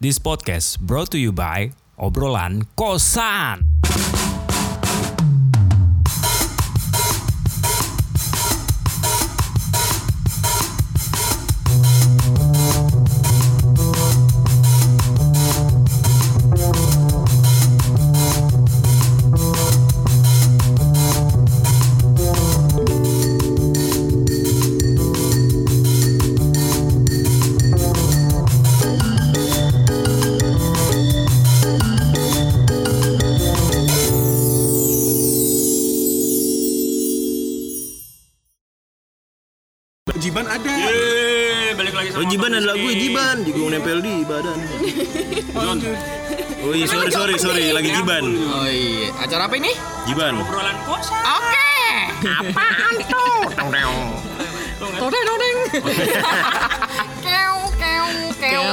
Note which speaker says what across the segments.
Speaker 1: This podcast brought to you by Obrolan Kosan.
Speaker 2: Jiban ada.
Speaker 3: balik lagi sama
Speaker 4: Oh jiban
Speaker 3: Bang
Speaker 4: adalah gue
Speaker 3: Rizky.
Speaker 4: jiban, juga nempel di badan.
Speaker 3: Don,
Speaker 4: Oh iya sorry sorry sorry lagi jiban,
Speaker 5: Oh iya, acara apa ini?
Speaker 4: jiban.
Speaker 3: obrolan kosan.
Speaker 5: Oke. Apaan tuh? Tong dong. Tong dong tong dong. Keu keu keu.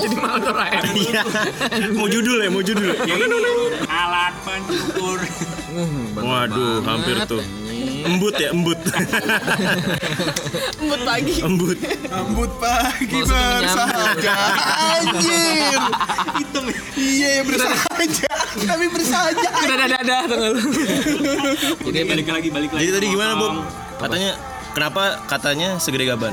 Speaker 5: Jadi malu Doraemon.
Speaker 4: Iya, mau judul ya mau judul.
Speaker 3: Ya ini alat pencukur.
Speaker 4: Waduh hampir tuh. Embut ya embut,
Speaker 6: Embut pagi.
Speaker 4: embut.
Speaker 2: Rambut pagi
Speaker 5: Maksudnya
Speaker 2: bersahaja. Anjir. Hitam. Iya bersahaja. Kami bersahaja.
Speaker 5: Udah dadah dadah tengel.
Speaker 3: Jadi balik lagi balik lagi.
Speaker 4: Jadi tadi
Speaker 3: sama
Speaker 4: gimana Bob?
Speaker 3: Bang.
Speaker 4: Katanya kenapa katanya segede gaban?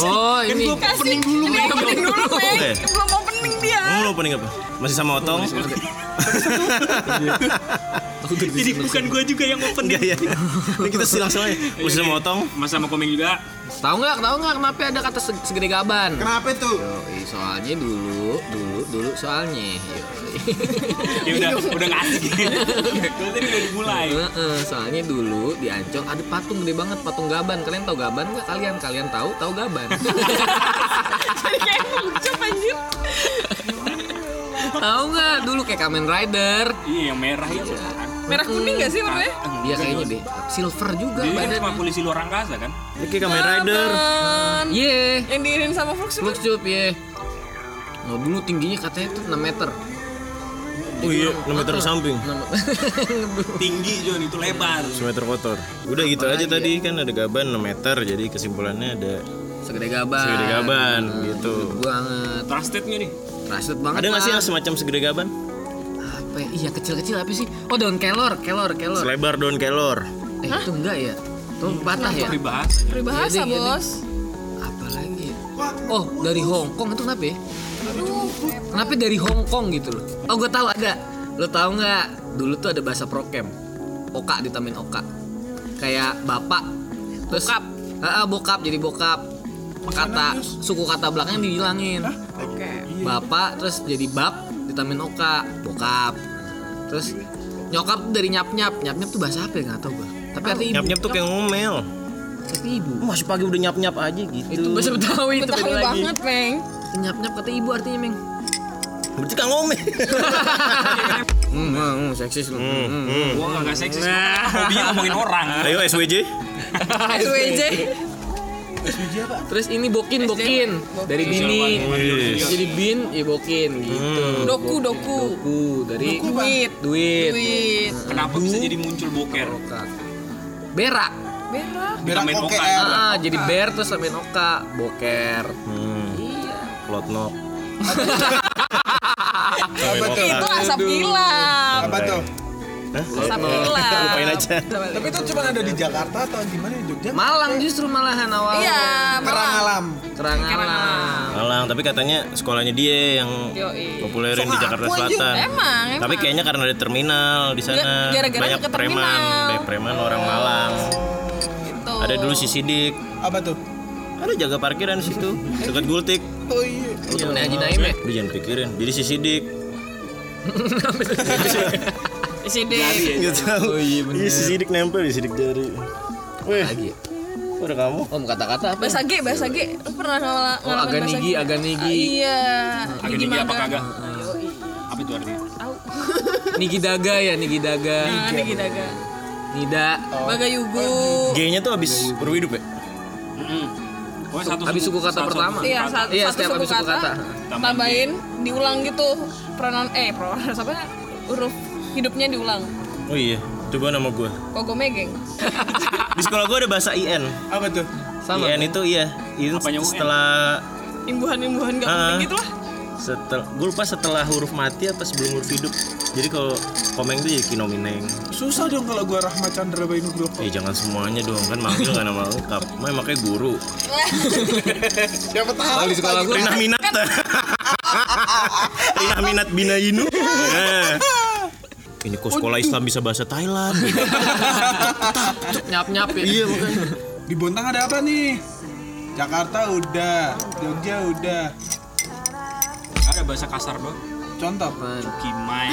Speaker 5: Oh ini.
Speaker 6: Pening dulu, Ini opening dulu, Meg.
Speaker 4: Oke.
Speaker 6: Belum opening dia.
Speaker 4: Kamu mau opening apa? Masih sama otong?
Speaker 3: Jadi bukan gue juga yang open
Speaker 4: Enggak ya. Ini kita silang silang ya. Masih sama otong?
Speaker 3: Mas sama komeng juga.
Speaker 5: Tahu nggak? Tahu nggak kenapa ada kata se- segede gaban?
Speaker 2: Kenapa tuh?
Speaker 5: Yoi, soalnya dulu, dulu, dulu soalnya. Yoi.
Speaker 3: Ya udah udah nggak asik. Gue tadi udah dimulai.
Speaker 5: Heeh, soalnya dulu di Ancol ada patung gede banget, patung gaban. Kalian tahu gaban nggak? Kalian kalian tahu? Tahu gaban?
Speaker 6: Jadi kayak pengucup anjir.
Speaker 5: tahu nggak? Dulu kayak Kamen Rider.
Speaker 3: Iya yang merah itu. kan.
Speaker 6: Merah kuning gak sih Iya, warnanya?
Speaker 5: Dia Iya, kayaknya deh silver juga
Speaker 3: Jadi kan cuma
Speaker 5: badannya.
Speaker 3: polisi luar angkasa kan?
Speaker 4: Ini kayak Kamen Rider.
Speaker 6: Kan.
Speaker 5: Ye,
Speaker 6: Yang diirin sama Flux itu.
Speaker 5: Flux cup ye. iya. Nah dulu tingginya katanya tuh 6 meter.
Speaker 4: Oh iya,
Speaker 2: Gitu.
Speaker 4: 6 meter samping,
Speaker 3: Tinggi Jon itu lebar.
Speaker 4: 1 meter kotor. Udah gitu aja tadi kan ada gaban 6 meter, jadi kesimpulannya ada
Speaker 5: Segede gaban.
Speaker 4: segede gaban gitu.
Speaker 5: Gede banget.
Speaker 3: Trustednya nih.
Speaker 5: Trusted banget.
Speaker 4: Ada nggak sih
Speaker 5: Bang.
Speaker 4: yang semacam segede gaban?
Speaker 5: Apa ya? Iya kecil-kecil apa sih? Oh daun kelor, kelor, kelor.
Speaker 4: Selebar daun kelor.
Speaker 5: Eh itu enggak ya?
Speaker 4: Iya,
Speaker 5: Itu patah ya?
Speaker 3: Dibahas.
Speaker 6: Peribahasa,
Speaker 5: Iya deh, iya deh.
Speaker 6: Bos.
Speaker 5: Apa lagi? ya? Oh dari Hong Kong itu kenapa ya? Kenapa dari Hong Kong gitu loh? Oh gue tahu ada. Lo tahu nggak? Dulu tuh ada bahasa prokem. Oka ditambahin oka. Kayak bapak. Terus, bokap. bokap jadi bokap. Kata suku kata belakangnya dihilangin.
Speaker 6: Oke.
Speaker 5: Bapak terus jadi bab ditambahin oka. Bokap. Terus nyokap tuh dari nyap nyap. Nyap nyap tuh bahasa apa ya nggak tahu gue. Tapi artinya ibu.
Speaker 4: Nyap-nyap tuh kayak ngomel.
Speaker 5: Artinya ibu.
Speaker 4: Masih pagi udah nyap-nyap aja gitu.
Speaker 5: Itu bahasa Betawi itu
Speaker 6: Betawi
Speaker 5: beda lagi.
Speaker 6: banget, Meng.
Speaker 5: Nyap nyap kata ibu artinya meng.
Speaker 4: Berarti kan ngomel.
Speaker 5: Hmm, hmm, seksis lu. Hmm, hmm.
Speaker 3: Gue nggak seksis. Hobinya ngomongin orang.
Speaker 4: Ayo
Speaker 2: Iya.
Speaker 4: SWJ.
Speaker 6: SWJ.
Speaker 5: Terus ini bokin bokin dari bini. Jadi bin ya bokin gitu.
Speaker 6: Doku, doku.
Speaker 5: Doku dari
Speaker 6: Doku, Bang.
Speaker 5: duit.
Speaker 6: Duit.
Speaker 3: Kenapa bisa jadi muncul boker?
Speaker 5: Oka. Berak.
Speaker 6: Merah.
Speaker 2: Berak
Speaker 3: Main
Speaker 2: oke.
Speaker 3: vokal.
Speaker 5: Ah, jadi ber terus sampai noka, boker.
Speaker 4: Hmm. Klotnok.
Speaker 2: Apa tuh?
Speaker 6: Itu asap hilang.
Speaker 2: Apa tuh?
Speaker 4: Hah?
Speaker 6: Asap hilang.
Speaker 4: Lupain aja.
Speaker 2: Tapi itu cuma ada di Jakarta atau gimana di Jogja?
Speaker 5: Malang justru malahan awal.
Speaker 6: Iya,
Speaker 2: Kerang
Speaker 6: malah.
Speaker 2: alam.
Speaker 5: Kerangalang.
Speaker 4: Alang, tapi katanya sekolahnya dia yang
Speaker 6: Yoi.
Speaker 4: populerin di
Speaker 2: Sok
Speaker 4: Jakarta
Speaker 2: aku aja.
Speaker 4: Selatan.
Speaker 6: Emang, emang.
Speaker 4: Tapi kayaknya karena ada terminal di sana
Speaker 6: Gara-gara
Speaker 4: banyak
Speaker 6: deket
Speaker 4: preman,
Speaker 6: terminal. Oh.
Speaker 4: banyak preman orang Malang.
Speaker 6: Gitu.
Speaker 4: Ada dulu si Sidik,
Speaker 2: Apa tuh?
Speaker 4: ada jaga parkiran di situ, dekat Gultik.
Speaker 2: Oh iya.
Speaker 5: Lu temennya Haji Naim ya?
Speaker 4: Lu jangan pikirin. Jadi si Sidik
Speaker 6: Di sini.
Speaker 4: Gak tahu. Iya, si sidik nempel di sidik jari. Weh,
Speaker 5: Lagi.
Speaker 4: kok ada kamu?
Speaker 5: Om kata-kata apa?
Speaker 6: Bahasa G, bahasa G. Lu pernah ngala-
Speaker 5: Oh,
Speaker 6: ngalamin bahasa
Speaker 5: aganigi,
Speaker 6: G?
Speaker 5: aganigi.
Speaker 6: Iya.
Speaker 3: Agak
Speaker 6: Gimana? Nah, Oh, iya.
Speaker 3: tinggi apa kagak? Apa itu artinya?
Speaker 5: Niki Daga ya, Niki Daga.
Speaker 6: Nah, Niki Daga.
Speaker 5: Nida.
Speaker 6: Bagayugu.
Speaker 4: G-nya tuh abis huruf hidup ya?
Speaker 3: Oh, satu
Speaker 5: Habis suku kata pertama.
Speaker 6: Iya, satu,
Speaker 5: Iya,
Speaker 6: satu
Speaker 5: setiap
Speaker 6: suku
Speaker 5: habis suku
Speaker 6: kata,
Speaker 5: kata.
Speaker 6: tambahin diulang gitu pronoun eh pronoun apa huruf hidupnya diulang.
Speaker 4: Oh iya, coba nama gue.
Speaker 6: Kogome geng.
Speaker 4: Di sekolah gue ada bahasa IN.
Speaker 2: Apa tuh?
Speaker 5: Sama.
Speaker 4: IN itu iya, IN
Speaker 3: kan? Apanya UN?
Speaker 4: setelah
Speaker 6: Imbuhan-imbuhan gak
Speaker 4: Ah.
Speaker 6: penting gitu lah.
Speaker 4: setel gue lupa setelah huruf mati apa sebelum huruf hidup jadi kalau komeng tuh ya kinomineng
Speaker 2: Susah dong kalau gua Rahmat Chandra Bayu Nugroho.
Speaker 4: eh jangan semuanya dong kan manggil nggak nama lengkap Mai, ya, makanya guru
Speaker 2: Siapa tahu?
Speaker 5: Kalau di sekolah gue
Speaker 3: Kan-
Speaker 4: Rina Minat Rina Minat Bina Inu Nah. ini kok sekolah Islam bisa bahasa Thailand
Speaker 5: nyap nyap ya. Iya makanya.
Speaker 2: Di Bontang ada apa nih? Jakarta udah, Jogja udah.
Speaker 3: Ada bahasa kasar banget.
Speaker 2: Contoh apa?
Speaker 3: Kimai.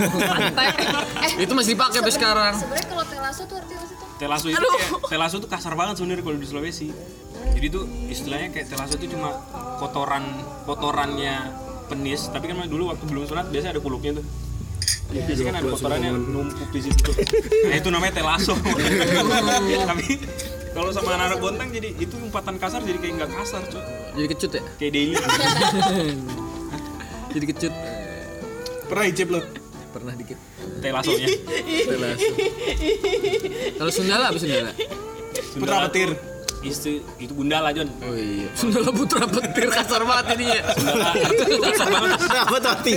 Speaker 6: eh
Speaker 5: Itu masih dipakai sampai sekarang.
Speaker 7: sebenarnya kalau telaso tuh artinya apa sih tuh
Speaker 3: Telasu itu kayak, telasu tuh kasar banget sebenarnya kalau di Sulawesi. Jadi tuh istilahnya kayak telasu itu cuma kotoran kotorannya penis, tapi kan dulu waktu belum sunat biasanya ada kuluknya tuh. Ya, biasanya kan ada kotorannya numpuk di situ tuh. Nah, itu namanya telaso. tapi kalau sama anak-anak bontang jadi itu umpatan kasar jadi kayak nggak kasar, cuy.
Speaker 5: Jadi kecut ya.
Speaker 3: Kayak daily.
Speaker 5: Jadi kecut.
Speaker 2: Pernah icip lo?
Speaker 5: Pernah dikit.
Speaker 3: telasonya.
Speaker 5: Kalau Sundala apa Sundala?
Speaker 2: Putra petir.
Speaker 3: Itu itu gundala, Jon.
Speaker 5: Oh iya. Sundala putra petir kasar banget ini ya.
Speaker 3: Gundala. kasar banget.
Speaker 4: kenapa tapi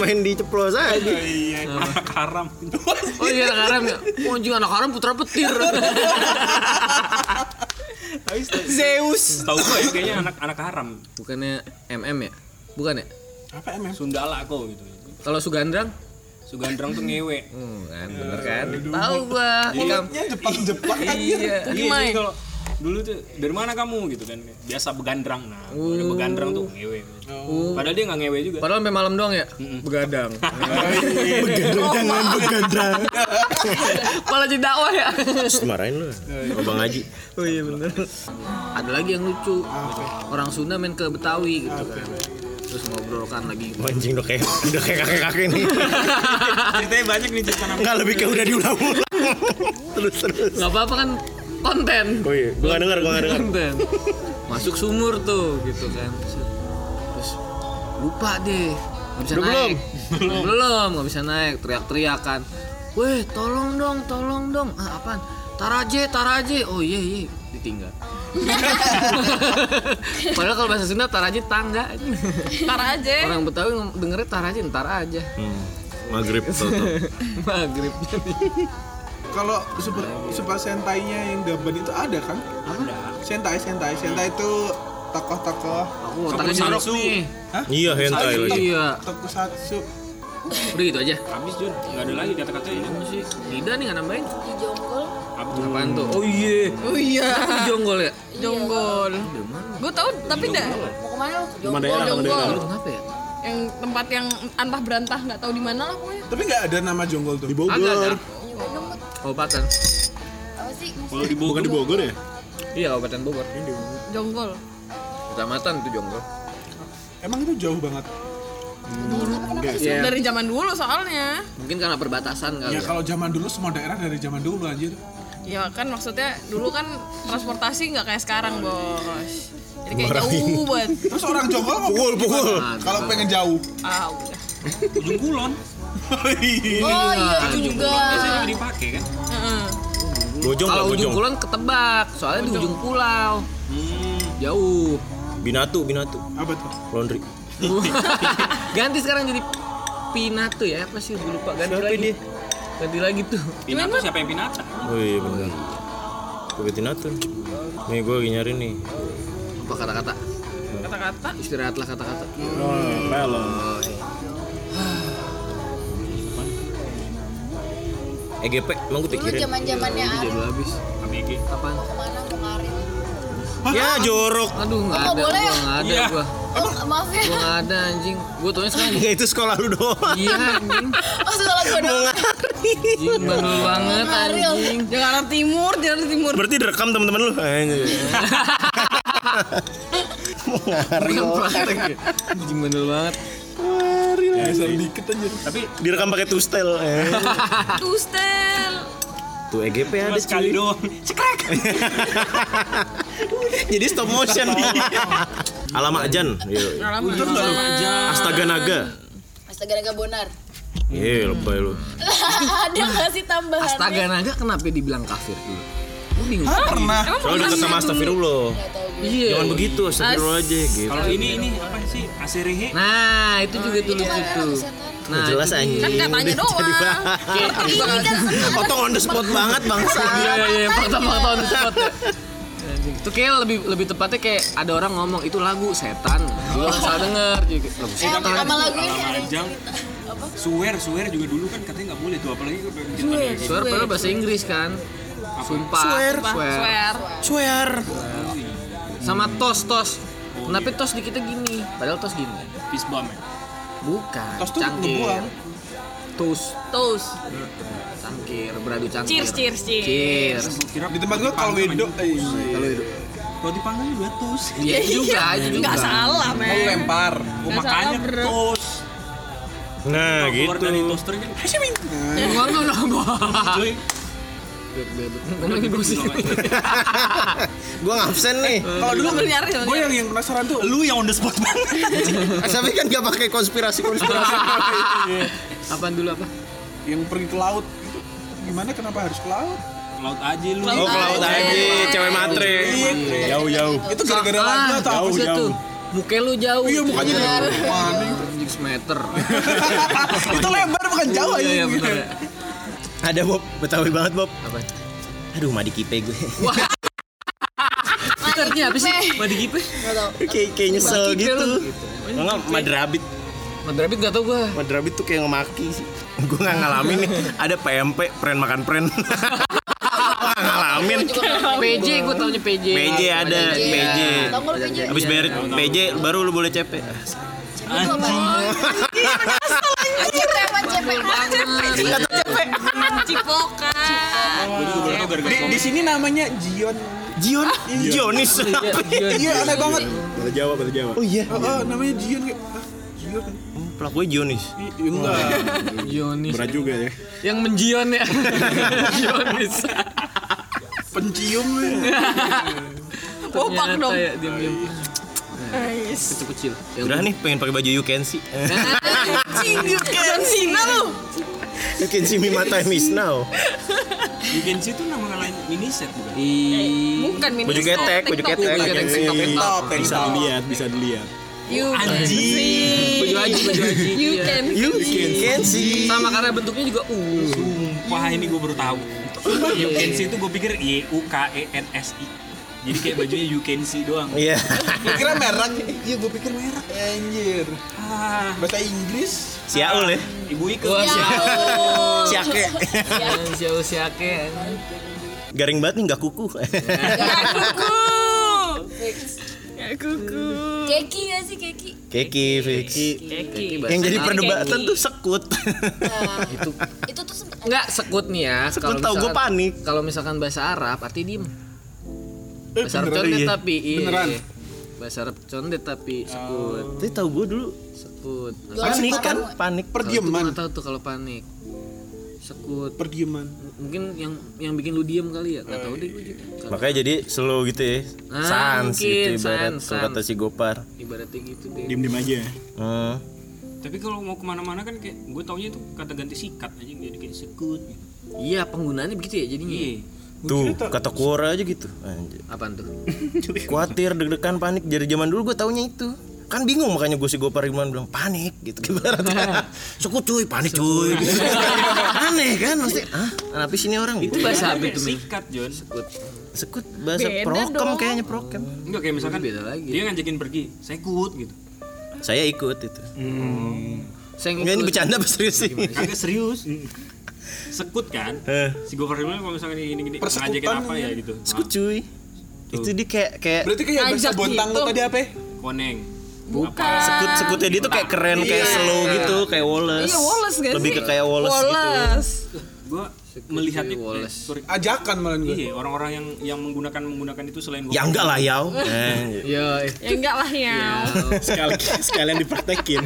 Speaker 4: main diceplos aja
Speaker 3: Iya, anak haram.
Speaker 5: Oh iya anak haram ya. Oh anjing anak haram putra petir.
Speaker 6: Zeus
Speaker 3: Tahu gue ya kayaknya anak anak haram.
Speaker 5: Bukannya MM ya? Bukan ya?
Speaker 2: Apa emang?
Speaker 3: Sundala kok gitu.
Speaker 5: Kalau Sugandrang?
Speaker 3: Sugandrang tuh ngewe.
Speaker 5: Hmm, kan, bener kan? Tahu gua. Ikam.
Speaker 2: Ya Jepang-Jepang anjir.
Speaker 5: Iya.
Speaker 3: Iya, jadi kalau dulu tuh dari mana kamu gitu kan biasa begandrang nah ada begandrang tuh ngewe padahal dia nggak ngewe juga
Speaker 5: Padahal sampai malam doang ya? Begadang.
Speaker 4: jangan begadang
Speaker 5: Malah jadi dakwah ya?
Speaker 4: marahin lu Abang Haji
Speaker 5: Oh iya bener. Ada lagi yang lucu. Orang Sunda main ke Betawi gitu kan. Terus ngobrolkan lagi.
Speaker 4: mancing udah kayak udah kayak kakek-kakek nih
Speaker 3: ceritanya banyak nih cerita nama
Speaker 4: nggak lebih kayak udah diulang-ulang terus terus
Speaker 5: Gak apa-apa kan konten.
Speaker 4: oh iya gue nggak dengar gue nggak dengar
Speaker 5: konten. Masuk sumur tuh gitu kan. Terus lupa deh. Gak bisa
Speaker 4: Udah
Speaker 5: naik. Belum. Belum, gak bisa naik. Teriak-teriak kan. Weh, tolong dong, tolong dong. Ah, apaan? Taraje, taraje. Oh iya iya, ditinggal. Padahal kalau bahasa Sunda taraje tangga.
Speaker 6: ntar aja
Speaker 5: Orang Betawi ngom- dengernya tar aja, ntar aja.
Speaker 4: hmm. maghrib tuh tuh
Speaker 5: Maghrib
Speaker 2: Kalau super super sentainya yang gaban itu ada kan? Sentai, sentai, sentai itu tokoh-tokoh
Speaker 5: Aku otaknya jorok
Speaker 3: Samsu.
Speaker 5: nih.
Speaker 4: iya hentai lagi
Speaker 5: Iya.
Speaker 2: tokusatsu.
Speaker 5: Udah gitu aja.
Speaker 3: habis Jun nggak ada lagi kata-kata ya. ini sih
Speaker 5: Tidak nih nggak nambahin.
Speaker 7: di jonggol
Speaker 3: Abdul
Speaker 5: Apaan tuh? Oh iya.
Speaker 6: oh iya
Speaker 5: Jonggol ya.
Speaker 6: jonggol
Speaker 5: Iya,
Speaker 6: gue tau tapi dah
Speaker 7: mau kemana lu ke
Speaker 4: Cuma
Speaker 7: jonggol
Speaker 4: daerah,
Speaker 7: jonggol
Speaker 3: Iya.
Speaker 5: Lu kenapa ya?
Speaker 6: yang tempat yang antah berantah nggak tahu di mana lah pokoknya
Speaker 2: Tapi nggak ada nama jonggol tuh. Di Bogor.
Speaker 5: Agak ada.
Speaker 7: Ini Bandung, Mut.
Speaker 5: Kabupaten.
Speaker 7: apa sih
Speaker 3: kalau di Bogor
Speaker 4: Bogor ya
Speaker 5: Iya Kabupaten Bogor.
Speaker 6: jonggol
Speaker 5: Kecamatan itu Jonggol.
Speaker 3: Iya,
Speaker 2: Emang itu jauh banget.
Speaker 5: Iya.
Speaker 6: dari zaman dulu soalnya
Speaker 5: Mungkin karena perbatasan kali
Speaker 2: Ya
Speaker 3: Iya,
Speaker 5: ya.
Speaker 2: kalau zaman dulu semua daerah dari zaman dulu anjir.
Speaker 6: ya kan maksudnya dulu kan transportasi nggak kayak sekarang
Speaker 5: Iya.
Speaker 6: bos jadi kayak jauh banget
Speaker 2: Terus orang jonggol mau pukul pukul. Kalau pengen jauh.
Speaker 6: ah udah
Speaker 3: ujung kulon
Speaker 7: oh iya itu juga
Speaker 3: biasanya nggak dipakai kan
Speaker 6: Heeh.
Speaker 4: bojong nggak
Speaker 5: Kalau
Speaker 4: bojong
Speaker 5: ujung kulon ketebak, soalnya di ujung pulau.
Speaker 3: hmm.
Speaker 5: Jauh.
Speaker 4: binatu binatu
Speaker 2: Apa tuh?
Speaker 4: laundry
Speaker 5: Ganti sekarang jadi Pinatu ya, apa sih? Gue lupa ganti lagi. Ganti lagi tuh.
Speaker 3: pinata siapa yang pinata
Speaker 4: oh iya benar gue binatu nih gue lagi nyari nih
Speaker 5: Apa kata-kata?
Speaker 6: kata-kata
Speaker 5: Istirahatlah kata-kata.
Speaker 7: Ya.
Speaker 4: EGP E emang gue
Speaker 7: dulu
Speaker 4: pikirin
Speaker 7: zaman zamannya
Speaker 5: Ini
Speaker 7: Ari
Speaker 5: jadwal habis.
Speaker 3: Amigi
Speaker 5: Apaan?
Speaker 7: kemana mau ngarin
Speaker 4: ya jorok
Speaker 5: Aduh nggak
Speaker 7: nggak
Speaker 5: ada,
Speaker 7: boleh
Speaker 5: gua
Speaker 7: ya?
Speaker 5: nggak ada,
Speaker 3: Iya.
Speaker 5: gua
Speaker 7: oh maaf ya
Speaker 5: gua nggak ada anjing. Gua taunya sekarang
Speaker 4: ya itu sekolah lu doang
Speaker 5: iya anjing,
Speaker 7: oh sekolah gue doang
Speaker 5: anjing bandel banget
Speaker 7: Ariel.
Speaker 5: anjing.
Speaker 6: Jakarta Timur Jakarta Timur
Speaker 4: berarti direkam teman-teman lu
Speaker 5: Bukan praktek ya. Anjing bandel banget.
Speaker 2: Ya, sedikit aja.
Speaker 3: tapi
Speaker 4: direkam pakai tustel eh.
Speaker 6: Tustel
Speaker 4: tuh EGP
Speaker 3: cuma
Speaker 4: ada
Speaker 3: sekali
Speaker 4: cuy
Speaker 3: doang cekrek
Speaker 4: jadi stop motion alamak Jan Yo.
Speaker 6: Alamak.
Speaker 4: Astaga Naga
Speaker 7: astaga naga bonar
Speaker 4: Iya lebay lu
Speaker 7: ada nggak sih tambahan
Speaker 5: Astaga naga kenapa dibilang kafir dulu? Gue bingung.
Speaker 2: Hah, pernah
Speaker 6: Emang
Speaker 4: Soalnya udah
Speaker 6: pernah
Speaker 4: sama
Speaker 6: sih?
Speaker 4: astagfirullah.
Speaker 7: Gak tau gue
Speaker 5: Iya.
Speaker 4: Jangan begitu, astagfirullah aja gitu.
Speaker 3: Kalau ini ini apa sih? Aserehe.
Speaker 5: Nah, itu juga tuh
Speaker 7: Itu kan
Speaker 5: gitu.
Speaker 7: anak kesehatan
Speaker 5: Nah,
Speaker 4: jelas
Speaker 5: itu Iya,
Speaker 4: anjing.
Speaker 5: dia.
Speaker 6: Kan katanya
Speaker 4: Udah
Speaker 6: doang.
Speaker 4: jadi bahas.
Speaker 6: Ngerti ini kan
Speaker 4: Otong on the spot banget bangsa.
Speaker 5: Iya iya iya, fakta-fakta on the spot ya. Anjing. Itu kayak lebih lebih tepatnya kayak ada orang ngomong itu lagu setan. Gua nggak salah denger juga. Lagu
Speaker 7: Eh,
Speaker 5: setan.
Speaker 7: sama lagu ini
Speaker 3: Lama
Speaker 7: ada yang
Speaker 3: jam.
Speaker 7: cerita Apa?
Speaker 3: Suwer, suwer juga dulu kan katanya nggak boleh tuh apalagi kalau gitu. bikin
Speaker 6: Swear.
Speaker 5: Swear padahal bahasa Inggris kan. Sumpah.
Speaker 4: Swear.
Speaker 5: Swear.
Speaker 6: Swear.
Speaker 4: Swear.
Speaker 5: Sama tos tos. Kenapa tos di kita gini? Padahal tos gini.
Speaker 3: Peace bomb. ya.
Speaker 5: Bukan.
Speaker 2: tos tuh
Speaker 5: cangkir.
Speaker 2: ngebuang
Speaker 5: Tos.
Speaker 6: Toast.
Speaker 5: Cangkir. Beradu cangkir.
Speaker 6: Cheers, cheers, cheers.
Speaker 5: Cheers.
Speaker 3: Gua Kira
Speaker 2: di tempat gua kalau wedo eh,
Speaker 5: Kalau itu.
Speaker 3: Kalau dipanggang juga tos.
Speaker 5: Iya itu juga. itu juga.
Speaker 6: Enggak salah,
Speaker 2: mau
Speaker 6: men.
Speaker 2: lempar
Speaker 3: Gua
Speaker 6: Nggak
Speaker 3: makanya
Speaker 6: salah, bro.
Speaker 3: tos.
Speaker 4: Nah,
Speaker 3: Keluar
Speaker 4: gitu.
Speaker 3: dari toaster kan.
Speaker 5: Gua nggak nambah.
Speaker 3: Cuy,
Speaker 5: Gua lagi gosip.
Speaker 4: Gua ngabsen nih.
Speaker 2: kalau dulu
Speaker 6: Sambil nyari, sambil
Speaker 2: gue yang yang penasaran tuh
Speaker 3: lu yang on the spot banget.
Speaker 4: Tapi kan gak pakai konspirasi-konspirasi.
Speaker 5: Apaan dulu apa?
Speaker 2: yang pergi ke laut gitu. gimana kenapa harus ke laut
Speaker 3: Laut aja lu.
Speaker 4: Oh, ke
Speaker 6: Iya.
Speaker 4: laut aja, cewek matre.
Speaker 3: Eh,
Speaker 4: Yau yau.
Speaker 2: Iya. itu gara-gara lagu atau apa sih
Speaker 5: tuh? Ah, Muka lu jauh.
Speaker 2: iya mukanya
Speaker 5: Iya.
Speaker 2: dari
Speaker 5: Anjing semeter.
Speaker 2: itu lebar bukan jauh
Speaker 5: Iya,
Speaker 2: ya
Speaker 5: iya, benar ya.
Speaker 4: Ada Bob, betawi banget Bob.
Speaker 5: Apa?
Speaker 4: Aduh, madi kipe gue.
Speaker 5: Itu artinya apa sih? Madi kipe?
Speaker 7: Gak tau
Speaker 4: Kayak kayak nyesel
Speaker 5: Kipe lu.
Speaker 4: gitu. Enggak, madrabit.
Speaker 5: Madrabit gak tau gua.
Speaker 4: Madrabit tuh kayak ngemaki sih. Gue gak ngalamin nih. Ada PMP, pren makan pren. Gua nggak ngalamin.
Speaker 5: PJ gua taunya PJ.
Speaker 4: PJ ada,
Speaker 5: Iya.
Speaker 4: PJ.
Speaker 7: Tau gak lu PJ?
Speaker 4: Abis bayar PJ baru lu boleh CP.
Speaker 7: Anjir, apa cepet
Speaker 5: Banget.
Speaker 6: Cipokan.
Speaker 3: Gua juga baru tau gara-gara
Speaker 2: di, di sini namanya Jion
Speaker 4: Jion, Jonis.
Speaker 2: iya aneh banget
Speaker 4: Bahasa Jawa, bahasa Jawa. Oh iya.
Speaker 2: oh, oh, namanya Jion kayak "Hah, Jion kan
Speaker 4: Pelaku gue Jonis.
Speaker 2: Iya, enggak
Speaker 4: Oh.
Speaker 5: Yonis.
Speaker 4: juga ya.
Speaker 5: Yang menjion ya. Yonis.
Speaker 2: pencium ya.
Speaker 6: Bopak
Speaker 5: Ternyata
Speaker 6: dong.
Speaker 5: ya, diam-diam.
Speaker 6: Nice.
Speaker 5: Itu kecil. Yang
Speaker 4: Ya Udah nih pengen pakai baju you can see.
Speaker 6: John Cena lu.
Speaker 4: you can see me my time is now.
Speaker 3: Yugenji itu nama lain miniset bukan?
Speaker 6: Bukan mini
Speaker 4: Baju
Speaker 6: set,
Speaker 4: ketek, baju
Speaker 6: TikTok.
Speaker 4: ketek.
Speaker 5: Yang
Speaker 4: Iya, iya.
Speaker 5: TikTok.
Speaker 4: Bisa dilihat, bisa dilihat.
Speaker 6: You can see.
Speaker 5: Baju aji, baju aji.
Speaker 6: You
Speaker 5: Iya.
Speaker 6: can
Speaker 4: You can see.
Speaker 5: Sama karena bentuknya juga uh, U.
Speaker 3: Wah ini gue baru tahu. You can see itu gue pikir Y U K E N S I. Jadi kayak bajunya you can see doang.
Speaker 4: Iya.
Speaker 2: Gua kira merek iya gue pikir merek anjir
Speaker 3: Ah,
Speaker 2: bahasa Inggris
Speaker 4: Siaul ya.
Speaker 3: ibu Ike.
Speaker 5: Wah,
Speaker 4: Siake.
Speaker 5: ya. jauh ya. siake.
Speaker 4: Garing banget nih nggak kuku.
Speaker 6: kuku. Ya kuku.
Speaker 7: Keki gak sih, Keki?
Speaker 4: Keki, fix.
Speaker 6: Keki.
Speaker 4: Yang jadi
Speaker 6: Keki.
Speaker 4: perdebatan tuh sekut.
Speaker 7: Nah, itu Itu tuh sempet
Speaker 5: Enggak sekut nih ya.
Speaker 4: Sekut
Speaker 5: kalau
Speaker 4: tahu gue
Speaker 5: misalkan-
Speaker 4: panik.
Speaker 5: Kalau misalkan bahasa Arab arti diem.
Speaker 4: Eh,
Speaker 5: Bahasa Arab
Speaker 4: beneran,
Speaker 5: condet
Speaker 4: iya.
Speaker 5: tapi iya.
Speaker 2: Beneran?
Speaker 5: Bahasa Arab condet tapi sekut.
Speaker 6: Oh.
Speaker 4: Tapi tahu gue dulu
Speaker 5: Sekut. Nah,
Speaker 7: Jualan
Speaker 4: panik kan?
Speaker 7: barang.
Speaker 4: Panik.
Speaker 5: Kalau itu
Speaker 2: perdieman
Speaker 5: gua tahu tuh kalau panik. Sekut.
Speaker 2: perdieman
Speaker 5: Mungkin yang yang bikin lu diem kali ya. Enggak tahu deh gue
Speaker 3: Iya.
Speaker 5: juga. Kalau
Speaker 4: Makanya jadi slow gitu ya.
Speaker 5: Ah,
Speaker 4: Sans
Speaker 5: mungkin,
Speaker 4: gitu ibarat
Speaker 5: sans,
Speaker 4: kalau
Speaker 5: sans.
Speaker 4: kata si Gopar.
Speaker 5: Ibaratnya gitu deh.
Speaker 4: Diem-diem aja. Hmm.
Speaker 3: Tapi kalau mau kemana-mana kan kayak gue taunya itu kata ganti sikat aja jadi kayak sekut.
Speaker 5: Iya, penggunaannya begitu ya jadinya.
Speaker 3: Iya.
Speaker 4: Tuh, kata Quora aja gitu. Anjir.
Speaker 5: Apaan tuh?
Speaker 4: Khawatir, deg-degan, panik. Dari zaman dulu gue taunya itu. Kan bingung makanya gue si Gopar gimana bilang panik gitu ibaratnya. Sekut cuy, panik cuy. Aneh kan mesti. Ah, kenapa sini orang?
Speaker 5: Itu
Speaker 4: Gitu.
Speaker 5: bahasa apa
Speaker 3: Kayak
Speaker 5: itu, Min?
Speaker 3: sikat John.
Speaker 4: Iya. Sekut bahasa
Speaker 6: Beda
Speaker 4: prokem
Speaker 6: dong.
Speaker 4: kayaknya prokem.
Speaker 3: Enggak kayak misalkan
Speaker 5: Beda lagi.
Speaker 3: dia ngajakin pergi sekut gitu.
Speaker 4: Saya ikut itu.
Speaker 5: Saya
Speaker 4: Enggak ini bercanda apa serius sih?
Speaker 3: Kagak serius.
Speaker 4: Mm.
Speaker 3: Sekut kan?
Speaker 4: Eh.
Speaker 3: Si Gopar bilang kalau misalkan gini-gini
Speaker 2: Persekutan
Speaker 3: ngajakin apa ya gitu.
Speaker 4: Sekut cuy. Itu dia kayak kayak
Speaker 2: berarti kayak bahasa
Speaker 6: Ngajak
Speaker 2: bontang lu
Speaker 6: gitu.
Speaker 2: tadi apa ya?
Speaker 3: Ah, Koneng.
Speaker 6: Bukan.
Speaker 4: sekut sekutnya dia tuh kayak keren
Speaker 5: Iya.
Speaker 4: kayak slow gitu kayak Wallace.
Speaker 6: Iya, Wallace gak sih?
Speaker 4: Lebih ke kayak Wallace, gitu.
Speaker 6: Wallace.
Speaker 3: Gue melihat itu. eh,
Speaker 5: Wallace.
Speaker 3: Sorry.
Speaker 2: ajakan malah gue
Speaker 3: Iya, orang-orang yang yang menggunakan menggunakan itu selain
Speaker 4: Ya enggak lah yau. Eh,
Speaker 5: Iya,
Speaker 6: Ya enggak lah ya.
Speaker 4: sekali sekalian dipraktekin.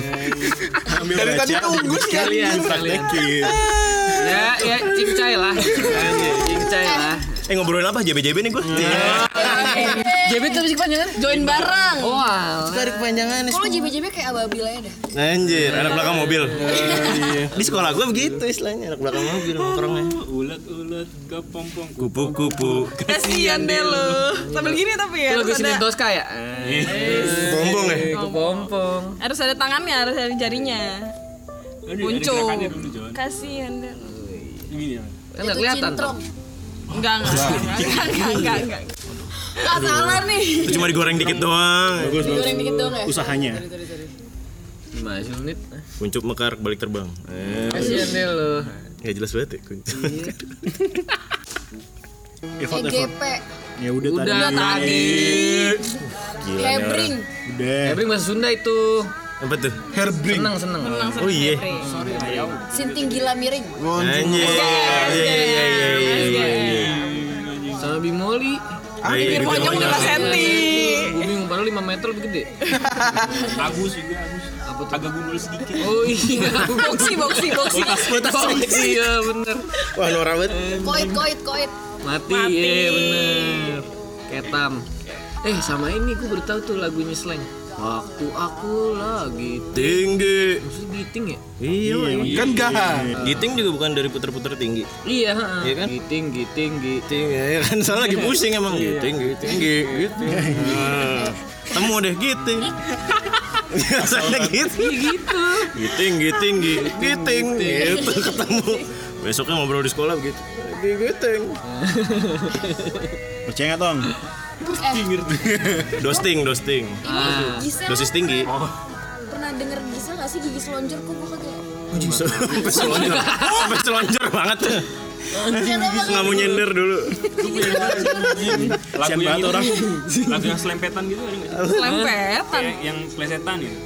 Speaker 4: Ambil
Speaker 2: dari tadi nunggu sih
Speaker 5: kalian kalian. Ya, ya cincai Iya, lah. Cincai lah.
Speaker 7: Iya.
Speaker 4: Eh ngobrolin apa JBJB nih gue?
Speaker 7: Eh,
Speaker 5: Jebet apa sih kepanjangan?
Speaker 4: Iya.
Speaker 6: Join bareng.
Speaker 5: Oh, alah.
Speaker 4: Tarik panjangannya.
Speaker 7: Kalau jebe-jebe kayak ababil aja dah.
Speaker 4: Anjir, anak belakang mobil.
Speaker 7: Iya.
Speaker 4: Di sekolah gua begitu istilahnya, anak belakang mobil nongkrongnya.
Speaker 3: ulet ulet kepompong
Speaker 4: Kupu-kupu.
Speaker 6: Kasihan Eh, deh lo. Sambil gini tapi ya.
Speaker 5: Itu lagu
Speaker 6: Harus
Speaker 5: Senin
Speaker 6: ada,
Speaker 5: Tosca ya? Eh,
Speaker 4: Bombong ya.
Speaker 5: Kepompong.
Speaker 6: harus ada tangannya, harus ada jarinya.
Speaker 3: Aduh,
Speaker 4: ya,
Speaker 3: ada
Speaker 6: Muncul.
Speaker 3: gerakannya dulu Jon
Speaker 6: Kasihan deh. lo.
Speaker 3: gini ya
Speaker 5: Kan nggak kelihatan tuh.
Speaker 7: Cintrong.
Speaker 6: Enggak, enggak, enggak, enggak, enggak, enggak, enggak. Enggak salah nih.
Speaker 4: Itu cuma digoreng dikit doang.
Speaker 3: bagus
Speaker 7: Goreng dikit doang ya.
Speaker 3: usahanya
Speaker 5: Lima belas menit.
Speaker 3: Eh,
Speaker 4: Kuncup mekar balik terbang. Eh,
Speaker 5: Kasihan deh lo.
Speaker 4: ya jelas banget ya kuncup.
Speaker 7: Iya.
Speaker 4: Iya,
Speaker 3: effort effort
Speaker 7: EGP,
Speaker 5: Iya,
Speaker 3: ya udah tadi
Speaker 5: Udah tadi.
Speaker 4: Gila. nih
Speaker 5: iya.
Speaker 4: orang.
Speaker 7: Hebring.
Speaker 3: udah
Speaker 5: Tapi bahasa Sunda itu
Speaker 3: Eh.
Speaker 4: Apa tuh?
Speaker 2: Hairbring.
Speaker 5: seneng seneng.
Speaker 4: Oh iya.
Speaker 7: Sinting gila miring.
Speaker 5: Oh.
Speaker 4: Anjir. Iya iya iya iya, iya.
Speaker 5: Sama Bimoli.
Speaker 4: Iya,
Speaker 6: Di
Speaker 4: iya,
Speaker 6: pojok
Speaker 4: iya.
Speaker 6: 5 cm.
Speaker 5: Bumi umpan 5 meter lebih gede.
Speaker 3: Agus juga Agus apa tuh? agak gundul sedikit
Speaker 5: Oh iya.
Speaker 6: Boksi, boksi, boksi.
Speaker 5: Iya bener.
Speaker 4: Wah, norak banget.
Speaker 7: Koit, koit, koit.
Speaker 5: Mati. Iya bener. Ketam. Eh sama ini gue baru tahu tuh lagunya slang. Waktu aku lagi
Speaker 4: Tinggi.
Speaker 5: maksudnya giting ya?
Speaker 4: Iya, iya.
Speaker 2: Kan gahang.
Speaker 4: Giting juga bukan dari puter-puter tinggi.
Speaker 5: Iya, ha-ha.
Speaker 4: Iya kan?
Speaker 5: Giting, giting, giting.
Speaker 4: Giting ya kan soalnya lagi pusing emang giting giting gi- giting. Nah, Temu deh giting. Biasanya gitu.
Speaker 5: Gitu.
Speaker 4: Giting giting gi- giting gitu ketemu. Besoknya ngobrol di sekolah begitu. Gi- Giting.
Speaker 8: Percaya nggak tong?
Speaker 4: Dosting dosting.
Speaker 5: Ah.
Speaker 7: Gisel
Speaker 4: Dosis tinggi.
Speaker 7: pernah denger Gisel nggak sih gigi selonjor kok gua kagak.
Speaker 5: Iya.
Speaker 4: Sampai selonjor. Sampai selonjor Oh, banget. Nggak mau nyender dulu.
Speaker 3: lagu yang
Speaker 8: banget
Speaker 3: itu
Speaker 8: orang.
Speaker 3: lagu yang selempetan gitu ada nggak sih
Speaker 6: Lempetan.
Speaker 4: Iya,
Speaker 3: kayak yang plesetan gitu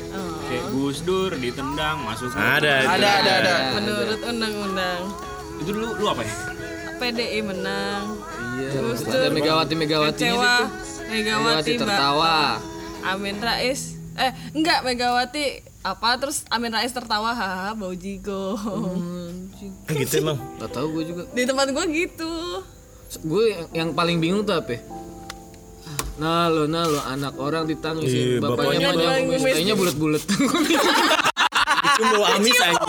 Speaker 3: kayak Gus Dur ditendang masuk
Speaker 4: Oh. Ada.
Speaker 2: Ada ada ada.
Speaker 4: iya.
Speaker 6: Menurut undang-undang,
Speaker 3: itu dulu lu apa ya
Speaker 6: PDI menang.
Speaker 5: Iya.
Speaker 6: Terus
Speaker 5: Ada
Speaker 6: tuh
Speaker 5: Megawati Megawati
Speaker 6: Kecewa, Megawati
Speaker 5: Megawati
Speaker 6: Mbak
Speaker 5: tertawa.
Speaker 6: Amin Rais. Eh, enggak Megawati apa terus Amin Rais tertawa hahaha bau jigo. Hmm.
Speaker 4: Eh, Gitu emang.
Speaker 5: Gak tau gue juga.
Speaker 6: Di tempat gua gitu.
Speaker 5: Gue yang, yang paling bingung tuh apa? ya? Nah lo, nah lo, anak orang
Speaker 4: Iya,
Speaker 5: ditangisin Bapaknya
Speaker 4: bapaknya
Speaker 5: panjang
Speaker 6: nangis.
Speaker 5: kumis, tainya bulat-bulat
Speaker 4: Itu bau amis aja.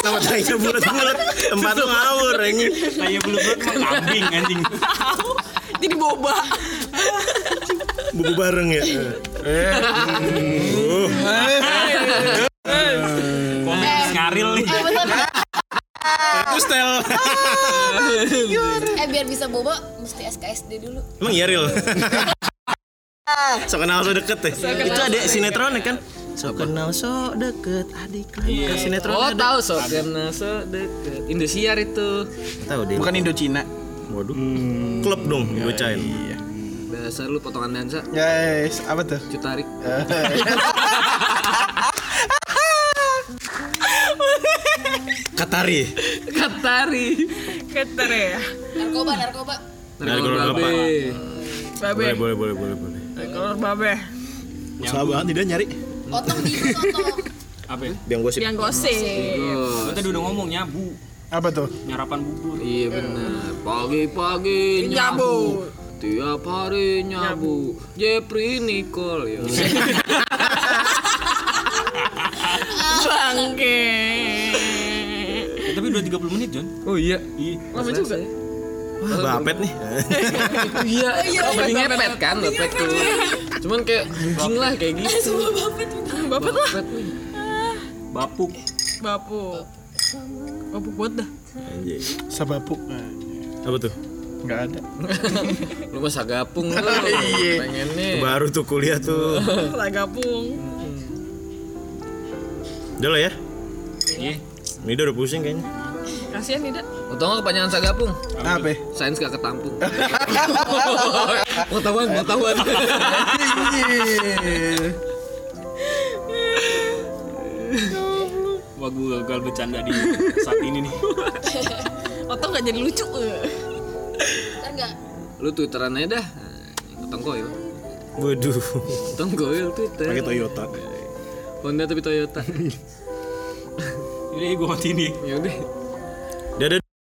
Speaker 4: Sama tanya bulat-bulat. Tempat tuh ngawur anjing.
Speaker 3: tanya belum belum mah kambing anjing
Speaker 6: Tahu. Jadi boba.
Speaker 4: Bubu bareng ya. Eh.
Speaker 3: Wah, ngaril nih
Speaker 7: Eh bener.
Speaker 4: Itu style.
Speaker 7: Eh biar bisa boba mesti SKSD dulu.
Speaker 4: Emang iya real. so kenal so deket ya. Itu ada sinetronnya kan. So kenal so deket adik kan kelas sinetron
Speaker 5: Oh tau so, karena so deket Indosiar itu
Speaker 4: tahu deh.
Speaker 2: Bukan Indocina.
Speaker 4: Waduh. Klub dong bocain.
Speaker 5: Dasar lu potongan dansa,
Speaker 2: Guys, apa tuh? Eh.
Speaker 5: cutarik
Speaker 4: Katari.
Speaker 5: Katari
Speaker 6: Keter ya.
Speaker 7: Narkoba, narkoba.
Speaker 4: Dari golongan apa? Boleh
Speaker 6: Babe.
Speaker 4: boleh boleh boleh boleh.
Speaker 6: Kolor babe.
Speaker 8: Usaha banget tidak nyari.
Speaker 7: Otong di otong.
Speaker 3: apa ya
Speaker 4: Biang gosip.
Speaker 6: Yang gosip.
Speaker 3: Lu tadi udah ngomong nyabu
Speaker 2: Apa tuh?
Speaker 3: nyarapan bubur
Speaker 5: Iya benar. Pagi-pagi nyabu.
Speaker 6: Nyabu.
Speaker 5: Tiap hari nyabu. Jepri Nicole ya.
Speaker 6: Bangke.
Speaker 3: Eh, tapi udah 30 menit Jon
Speaker 5: Oh iya.
Speaker 3: iya
Speaker 5: Lama juga.
Speaker 4: Wah, bapet nih.
Speaker 5: Iya. Tadi ngepet kan, ngepet tuh. Cuman kayak anjing lah kayak gitu.
Speaker 6: Bapak lah.
Speaker 5: Ngepet nih.
Speaker 3: bapuk
Speaker 6: Bapu. Bapu buat dah.
Speaker 4: Anjir.
Speaker 2: Sabapuk.
Speaker 4: Apa tuh?
Speaker 2: Enggak ada.
Speaker 5: Lu masa gapung
Speaker 8: Oh,
Speaker 5: lu.
Speaker 8: iya.
Speaker 5: Pengennya.
Speaker 4: Baru tuh kuliah tuh.
Speaker 6: Lah gapung.
Speaker 4: Udah lah ya.
Speaker 3: iya
Speaker 4: Ini udah pusing kayaknya.
Speaker 6: Kasihan tidak.
Speaker 5: Untung gak kepanjangan sagapung.
Speaker 2: Nah, Apa? ya?
Speaker 5: Sains gak ketampung. Pengetahuan, pengetahuan.
Speaker 3: wah gue gagal bercanda di saat ini nih
Speaker 6: Otong nggak jadi lucu.
Speaker 7: Ntar nggak
Speaker 5: Lu twitteran aja dah. Utang koil.
Speaker 4: Waduh.
Speaker 5: Utang koil twitter.
Speaker 8: Pakai Toyota.
Speaker 5: Honda tapi Toyota.
Speaker 3: ini gue mati nih
Speaker 5: ya udah.